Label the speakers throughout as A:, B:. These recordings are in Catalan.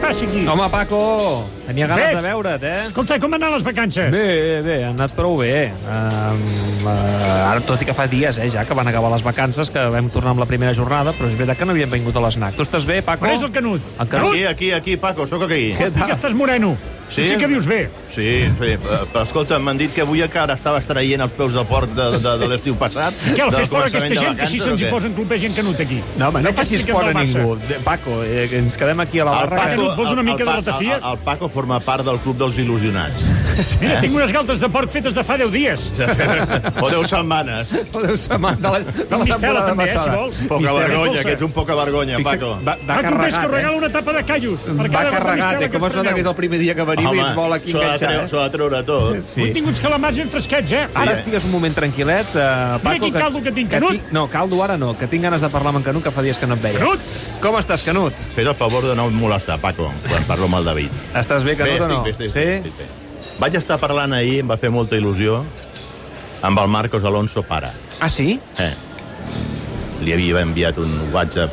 A: passi aquí?
B: Home, Paco, tenia ganes
A: Ves.
B: de veure't, eh?
A: Escolta, com han anat les vacances?
B: Bé, bé, ha anat prou bé. Um, uh, ara, tot i que fa dies, eh, ja, que van acabar les vacances, que vam tornar amb la primera jornada, però és veritat que no havíem vingut a l'esnac. Tu estàs bé, Paco?
A: On és el Canut?
B: El Canut?
C: Aquí, aquí, aquí, Paco, sóc aquí.
B: Què
A: Que
B: tal?
A: estàs moreno.
C: Sí?
A: sí que vius bé.
C: Sí, sí. eh, Però escolta, m'han dit que avui encara estaves traient els peus de porc de, de, de l'estiu passat.
A: Què, el
C: del
A: fes fora
C: començament
A: aquesta
C: de
A: gent, que
C: vacances,
A: així
C: o
A: se'ns hi
C: què?
A: posen clupers i en Canut aquí.
B: No, home, no passis
A: Aquest
B: fora
A: del Barça.
B: ningú. De- Paco, eh, que ens quedem aquí a la
C: El
B: barra.
A: Paco- Canut, vols una
C: el-
A: mica
C: el
A: de
C: Pa-
A: ratafia?
C: El, el Paco forma part del Club dels Il·lusionats.
A: Mira, tinc unes galtes de porc fetes de fa 10 dies.
C: o deu setmanes.
B: Que... Deu setmana de la, de
A: Un
B: la
A: mistela,
B: temporada
A: també, eh, si
B: passada.
A: vols.
C: Poca
A: Mistela,
C: vergonya,
A: escolta.
C: que ets un poca vergonya,
B: Fixa't,
C: Paco.
B: Va, va
A: Ah, que em ves que
B: carregat,
A: regala
B: eh?
A: una tapa de callos. per
B: Va
A: cada
B: carregat,
A: mistela
B: eh? Com
A: que
B: es
A: ens
B: nota que és
A: preneu.
B: el primer dia que venim i es vol aquí
C: s'ho ha de
B: enganxar,
C: treure-
B: eh?
C: s'ho ha de treure tot.
B: Sí.
A: Hem tingut calamars ben fresquets, eh?
B: Ara
C: Sí, eh?
B: estigues un moment tranquil·let, eh, Paco.
A: quin caldo que tinc, Canut.
B: tinc- No, caldo ara no, que tinc ganes de parlar amb en Canut, que fa dies que no et veia.
A: Canut!
B: Com estàs, Canut?
C: Fes el favor de no molestar, Paco, quan parlo amb el David.
B: Estàs bé, Canut, o no?
C: bé, estic, bé, estic bé. Vaig estar parlant ahir, em va fer molta il·lusió, amb el Marcos Alonso pare.
B: Sí? Ah, sí?
C: Eh. Li havia enviat un WhatsApp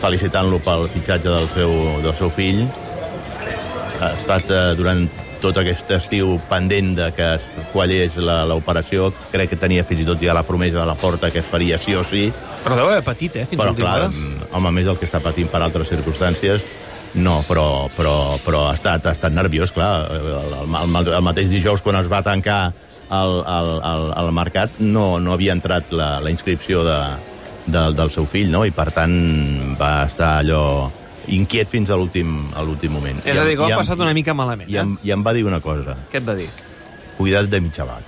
C: felicitant-lo pel fitxatge del seu, del seu fill. Ha estat eh, durant tot aquest estiu pendent de que es quallés la- l'operació. Crec que tenia fins i tot ja la promesa de la porta que es faria sí o sí.
B: Però deu haver patit, eh, fins
C: Però,
B: última
C: clar,
B: hora.
C: mm, home, més del que està patint per altres circumstàncies, no, però, però, però ha, estat, ha estat nerviós, clar. El, el, el, el mateix dijous, quan es va tancar el, el, el, el mercat, no, no havia entrat la, la inscripció de, de, del seu fill, no? I, per tant, va estar allò inquiet fins a l'últim a l'últim moment.
B: És a dir, que ho ha passat una mica malament,
C: I em, i em va dir una cosa.
B: eh? Què et va dir?
C: Cuida't de mi, xaval.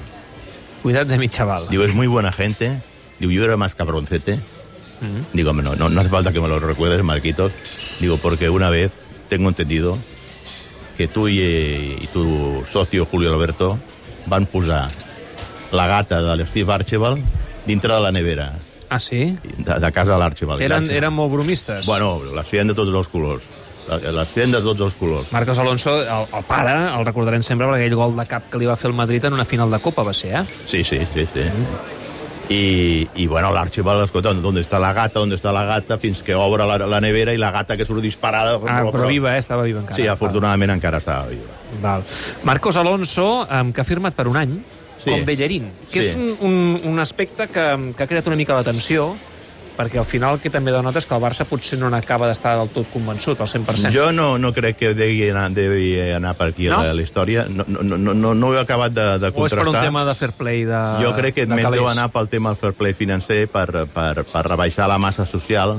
B: Cuida't de mi, xaval.
C: Digo, es muy buena gente. Digo, yo era más cabroncete.
B: Mm.
C: Digo, no, no, no hace falta que me lo recuerdes, Marquitos. Digo, porque una vez tengo entendido que tú i, i tu socio Julio Alberto van posar la gata de l'Steve Archibald dintre de la nevera
B: Ah, sí?
C: de, de casa de l'Archibald. I
B: Eren,
C: l'Archibald-
B: eren molt bromistes.
C: Bueno, les feien de tots els colors. Les les feien de tots els colors.
B: Marcos Alonso, el, el pare, el recordarem sempre per aquell gol de cap que li va fer el Madrid en una final de Copa, va ser, eh?
C: Sí, sí, sí, sí.
B: Mm.
C: I, i bueno, l'Archibald, escolta, ¿dónde está la gata? ¿Dónde está la gata? Fins que obre la, la nevera i la gata que surt disparada.
B: Ah, però viva, eh? Estava viva encara.
C: Sí, afortunadament encara estava viva.
B: Val. Marcos Alonso, em, que ha firmat per un any
C: Sí.
B: com Bellerín, que
C: Sí.
B: és un, un, un aspecte que, que ha creat una mica l'atenció, perquè al final que també dona nota és que el Barça potser no n'acaba d'estar del tot convençut, al 100%.
C: Jo no, no crec que degui anar, devi anar per aquí
B: No?
C: no? la, la història. No, no, no, no, no ho he acabat de, de
B: o és
C: contrastar.
B: per un tema de fair play de
C: Jo crec que
B: Ah, de
C: més
B: calés?
C: deu anar pel tema del fair play financer per, per, per rebaixar la massa social.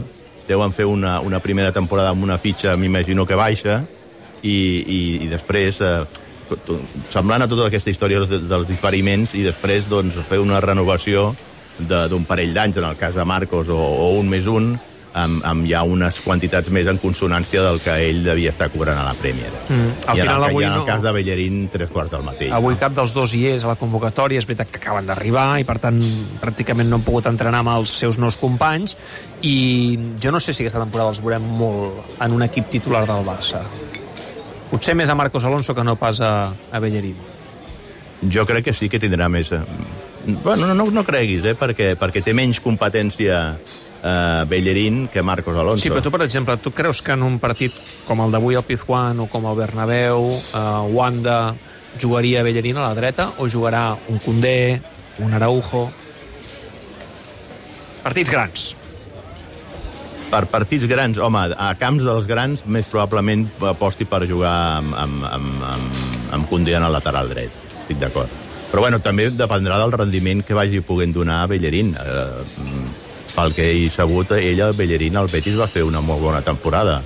C: Deuen fer una, una primera temporada amb una fitxa, m'imagino que baixa, i, i, i després... Eh, to- semblant a tota aquesta història dels, dels diferiments i després doncs, fer una renovació de- d'un parell d'anys, en el cas de Marcos, o, o un més un, amb, amb ja unes quantitats més en consonància del que ell devia estar cobrant a la Premier.
B: Mm, al
C: I en
B: final
C: el,
B: avui
C: i en el
B: no.
C: cas de Bellerín, tres quarts del matí.
B: Avui cap dels dos hi és a la convocatòria, és veritat que acaben d'arribar i per tant pràcticament no han pogut entrenar amb els seus nous companys i jo no sé si aquesta temporada els veurem molt en un equip titular del Barça. Potser més a Marcos Alonso que no pas a, a Bellerín.
C: Jo crec que sí que tindrà més... eh, Bueno, no, no, no creguis, eh, perquè, perquè té menys competència eh, Bellerín que Marcos Alonso.
B: Sí, però tu, per exemple, tu creus que en un partit com el d'avui al Pizjuán o com el Bernabéu, eh, Wanda jugaria Bellerín a la dreta o jugarà un Condé, un Araujo... Partits grans.
C: Per partits grans, home, a camps dels grans, més probablement aposti per jugar amb, amb, amb, amb, amb Condé en el lateral dret. Estic d'acord. Però bueno, també dependrà del rendiment que vagi puguent donar a Bellerín. Eh, mm, pel que he sabut, ella, Bellerín, al Betis va fer una molt bona temporada.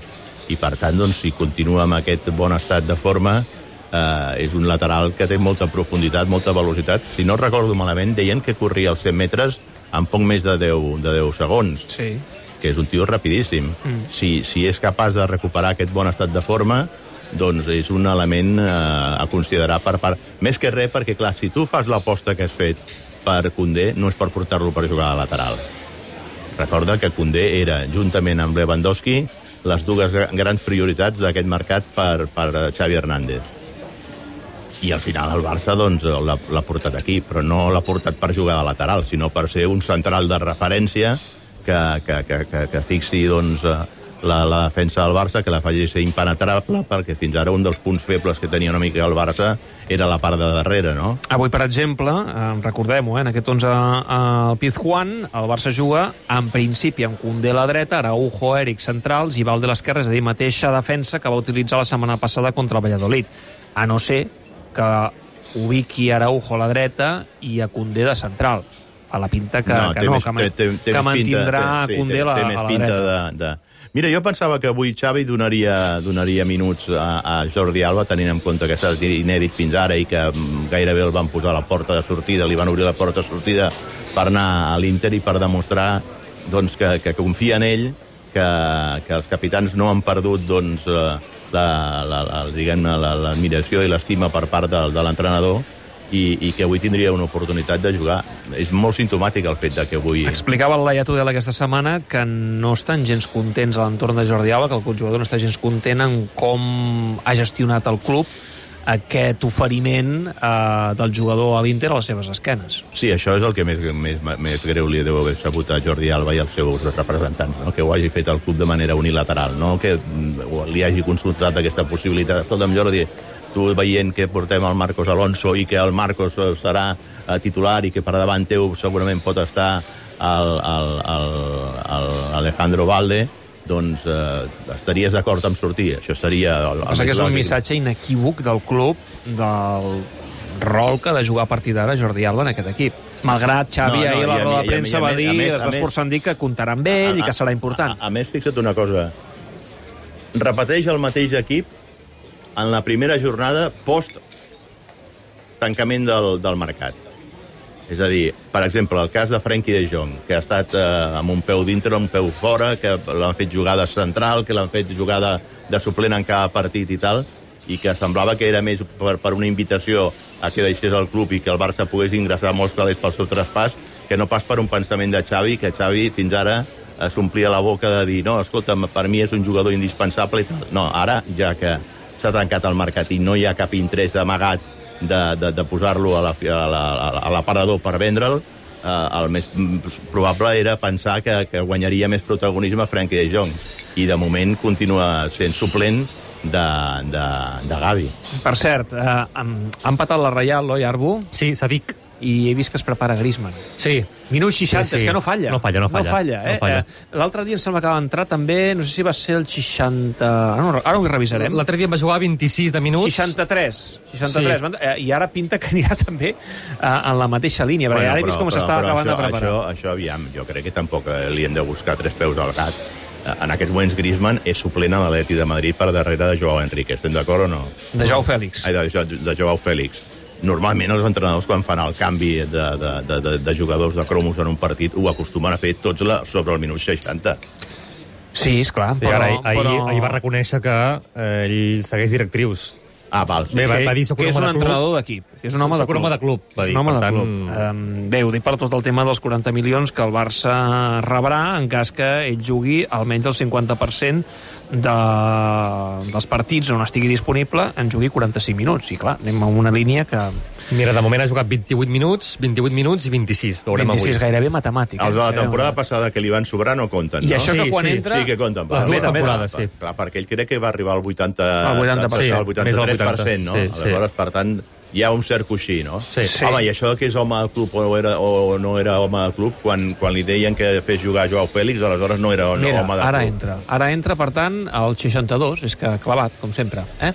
C: I per tant, doncs, si continua amb aquest bon estat de forma, eh, és un lateral que té molta profunditat, molta velocitat. Si no recordo malament, deien que corria els 100 metres en poc més de 10, de 10 segons
B: Sí.
C: que és un tio rapidíssim. Mm. Si, si és capaç de recuperar aquest bon estat de forma, doncs és un element eh, a considerar per part... Més que res, perquè, clar, si tu fas l'aposta que has fet per Condé, no és per portar-lo per jugar a lateral. Recorda que Condé era, juntament amb Lewandowski, les dues gra- grans prioritats d'aquest mercat per, per eh, Xavi Hernández. I al final el Barça doncs, l'ha l'ha portat aquí, però no l'ha portat per jugar de lateral, sinó per ser un central de referència que, que, que, que, que fixi doncs, eh, la, la defensa del Barça, que la faci ser impenetrable, perquè fins ara un dels punts febles que tenia una mica el Barça era la part de darrere, no?
B: Avui, per exemple, eh, recordem-ho, eh, en aquest 11 al Pizjuán, el Barça juga, en principi, amb Condé a la dreta, Araujo, Eric, centrals, i Valde a l'esquerra, és a dir, mateixa defensa que va utilitzar la setmana passada contra el Valladolid. A no ser que ubiqui Araujo a la dreta i a Condé de central. A la pinta que no, que,
C: té
B: no,
C: més-
B: que, man-
C: té- té- té
B: que
C: més
B: mantindrà
C: pinta, té- sí,
B: Condé
C: té-
B: a la,
C: té
B: a
C: més
B: la
C: pinta
B: dreta.
C: De, de... Mira, jo pensava que avui Xavi donaria, donaria minuts a, a Jordi Alba, tenint en compte que s'ha inèdit fins ara i que mm, gairebé el van posar a la porta de sortida, li van obrir la porta de sortida per anar a l'Inter i per demostrar doncs, que, que confia en ell, que, que els capitans no han perdut doncs, eh, la, la, la, diguem-ne, la- l'admiració i l'estima per part de, de l'entrenador i, i que avui tindria una oportunitat de jugar. És molt sintomàtic el fet de que avui...
B: Explicava el Laia Tudela aquesta setmana que no estan gens contents a l'entorn de Jordi Alba, que el jugador no està gens content en com ha gestionat el club aquest oferiment eh, del jugador a l'Inter a les seves esquenes.
C: Sí, això és el que més, més, més greu li deu haver sabut a Jordi Alba i als seus representants, no? que ho hagi fet el club de manera unilateral, no? que mm, o li hagi consultat aquesta possibilitat. Escolta'm, Jordi, tu veient que portem el Marcos Alonso i que el Marcos eh, serà eh, titular i que per davant teu segurament pot estar el, el, el, el Alejandro Valde, doncs eh, estaries d'acord amb sortir. Això seria... El, el
B: Passa que
C: més
B: és un
C: lògic.
B: missatge inequívoc del club del rol que ha de jugar a partir d'ara Jordi Alba en aquest equip. Malgrat Xavi no,
C: No, no,
B: no, ahir a
C: i
B: la
C: a mi-
B: roda
C: i
B: de
C: a mi-
B: premsa
C: i a
B: va
C: mi-
B: dir,
C: a més-
B: es
C: a
B: va
C: més- Ah,
B: esforçar en dir que comptarà amb ell i que serà important.
C: A, a més, fixa't una cosa. Repeteix el mateix equip en la primera jornada post tancament del, del mercat. És a dir, per exemple, el cas de Frenkie de Jong, que ha estat eh, amb un peu dintre, un peu fora, que l'han fet jugar de central, que l'han fet jugar de, de suplent en cada partit i tal, i que semblava que era més per, per una invitació a que deixés el club i que el Barça pogués ingressar molts calés pel seu traspàs, que no pas per un pensament de Xavi, que Xavi fins ara eh, s'omplia la boca de dir no, escolta'm, per mi és un jugador indispensable i tal. No, ara, ja que s'ha tancat el mercat i no hi ha cap interès amagat de, de, de posar-lo a la fi- a la- a l'aparador la, per vendre'l, eh, el més mm, probable era pensar que, que guanyaria més protagonisme Frenkie de Jong. I de moment continua sent suplent de, de, de Gavi.
B: Per cert, eh, han- ha empatat la Reial, oi, Arbu?
D: Sí, Sadik.
B: i he vist que es prepara Griezmann.
D: Sí.
B: Minut 60, sí,
D: Sí,
B: sí.
D: sí.
B: és que no falla.
D: No falla, no falla.
B: No falla, eh?
D: No falla.
B: Eh, L'altre dia em sembla que va entrar també, no sé si va ser el 60... Ara, no, ara ho revisarem.
D: L'altre dia em va jugar 26 de minuts.
B: 63, 63.
D: Sí.
B: Sí. Eh, I ara pinta que anirà també eh, en la mateixa línia, perquè bueno, ara he vist com s'està
C: però
B: acabant
C: això,
B: de preparar.
C: Això, això, aviam, jo crec que tampoc eh, li hem de buscar tres peus al gat. Eh, En aquests moments Griezmann és suplent a l'Atleti de Madrid per darrere de Joao Enrique. Estem d'acord o no?
B: De Jou Fèlix.
C: Ai, de, Jo- de Joao Fèlix. Normalment els entrenadors quan fan el canvi de, de, de, de, de jugadors de cromos en un partit ho acostumen a fer tots la, sobre el minut 60.
B: Sí, esclar,
D: Sí,
B: però...
D: ara, ahir,
B: però...
D: ahir va reconèixer que eh, ell segueix directrius.
C: Ah, val.
D: Bé, Eh, va, va dir "Soc
B: que és
D: home
B: un
D: de club".
B: entrenador d'equip. És un home de
D: Soc un
B: club.
D: home de club, va
B: És
D: dir.
B: un home
D: Per
B: de
D: tant,
B: club. Um, bé, ho dic per tot el tema dels 40 milions que el Barça rebrà en cas que ell jugui almenys el 50% de, dels partits on estigui disponible en jugui 45 minuts. I clar, anem a una línia que
D: Mira, de moment ha jugat 28 minuts, 28 minuts i 26. Veurem
B: 26
D: avui.
B: gairebé matemàtic. eh?
C: Els de la
B: Gairebé
C: temporada
B: matemàtic.
C: passada que li van sobrar no compten,
B: I
C: no?
B: això
D: Sí,
B: que quan
D: sí.
B: entra...
C: Sí que compten. Ah,
D: Les dues
B: Mira, mira,
D: temporades, sí.
C: Clar, perquè ell crec que va arribar al 80...
B: Al 80%,
C: al
D: sí, més del
C: 83%, no?
D: 80, sí, sí.
C: Aleshores, per tant, hi ha un cert coixí, no?
D: Sí. Sí.
C: Home, i això de que és home del club o no era, o no era home del club, quan, quan li deien que fes jugar Joao Fèlix, aleshores no era no,
B: Mira,
C: home del
B: ara
C: club.
B: entra. Ara entra, per tant, el 62, és que ha clavat, com sempre. Eh?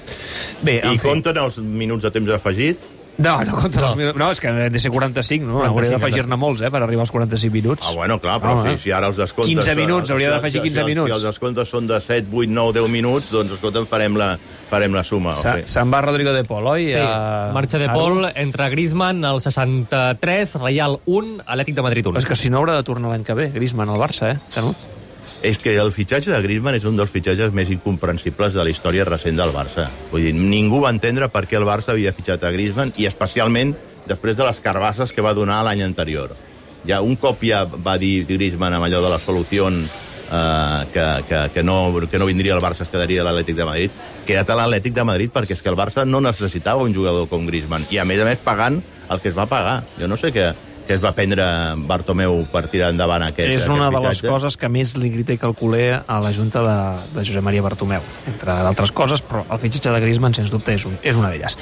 B: Bé,
C: I
B: en fi.
C: compten els minuts de temps afegit?
B: No, no compta
D: No.
B: no. els minuts. No, és que han de ser 45, no?
D: 45,
B: Hauré d'afegir-ne
D: 45.
B: molts, eh, per arribar als 45 minuts.
C: Ah, bueno, clar, però
B: Home.
C: si, si ara els descomptes...
B: 15 minuts,
C: si-
B: hauria d'afegir
C: si-
B: 15
C: si,
B: minuts.
C: Si els descomptes són de 7, 8, 9, 10 minuts, doncs, escolta'm, farem la, farem la suma.
B: Se-
C: Okay.
B: Se'n va Rodrigo de Pol, oi?
D: Sí,
B: A-
D: marxa de
B: a-
D: Pol, entra Griezmann, el 63, Reial 1, Atlètic de Madrid 1.
B: És que si no haurà de tornar l'any que ve, Griezmann al Barça, eh, Canut?
C: És que el fitxatge de Griezmann és un dels fitxatges més incomprensibles de la història recent del Barça. Vull dir, ningú va entendre per què el Barça havia fitxat a Griezmann i especialment després de les carbasses que va donar l'any anterior. Ja un cop ja va dir Griezmann amb allò de la solució eh, que, que, que, no, que no vindria el Barça, es quedaria a l'Atlètic de Madrid, queda't a l'Atlètic de Madrid perquè és que el Barça no necessitava un jugador com Griezmann i a més a més pagant el que es va pagar. Jo no sé que, que es va prendre Bartomeu per tirar endavant aquest
D: és una
C: aquest
D: de les
C: fitxatge.
D: coses que més li grita i calculé a la Junta de, de Josep Maria Bartomeu, entre d'altres coses, però el fitxatge de Griezmann, sens dubte, és, un, és una d'elles.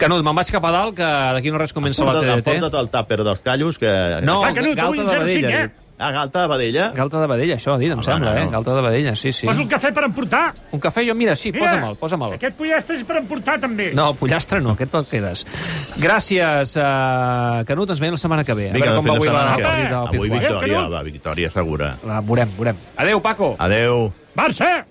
D: Canut, me'n vaig cap a dalt, que d'aquí no res comença la
C: Emporta't,
D: TDT.
C: emporta't el tàper dels callos, que... Ah,
D: No,
A: Va, Canut,
D: Galta
A: avui
D: de
A: 0,5,
D: Badella.
A: eh?
D: diu.
C: A Galta de Badella.
D: Galta de Badella, això, dit, em
C: Ah,
D: sembla,
C: no,
D: eh?
C: no.
D: Galta de Badella, sí, sí.
A: Posa un cafè per emportar.
D: Un cafè, jo, mira, sí, posa-me'l, posa-me'l.
A: Aquest pollastre és per emportar, també.
D: No, pollastre no, aquest te'l quedes. Gràcies, uh, Canut, ens veiem la setmana que ve. A
C: Vinga,
D: veure
C: de
D: com
C: fet,
D: va avui
C: la
D: la
C: setmana que-
D: partida del
C: Avui
D: Pizjuán.
A: Vic-
C: victòria,
A: Canut.
C: va, victòria segura.
D: La veurem, veurem. Adéu, Paco.
C: Adeu.
A: Barça!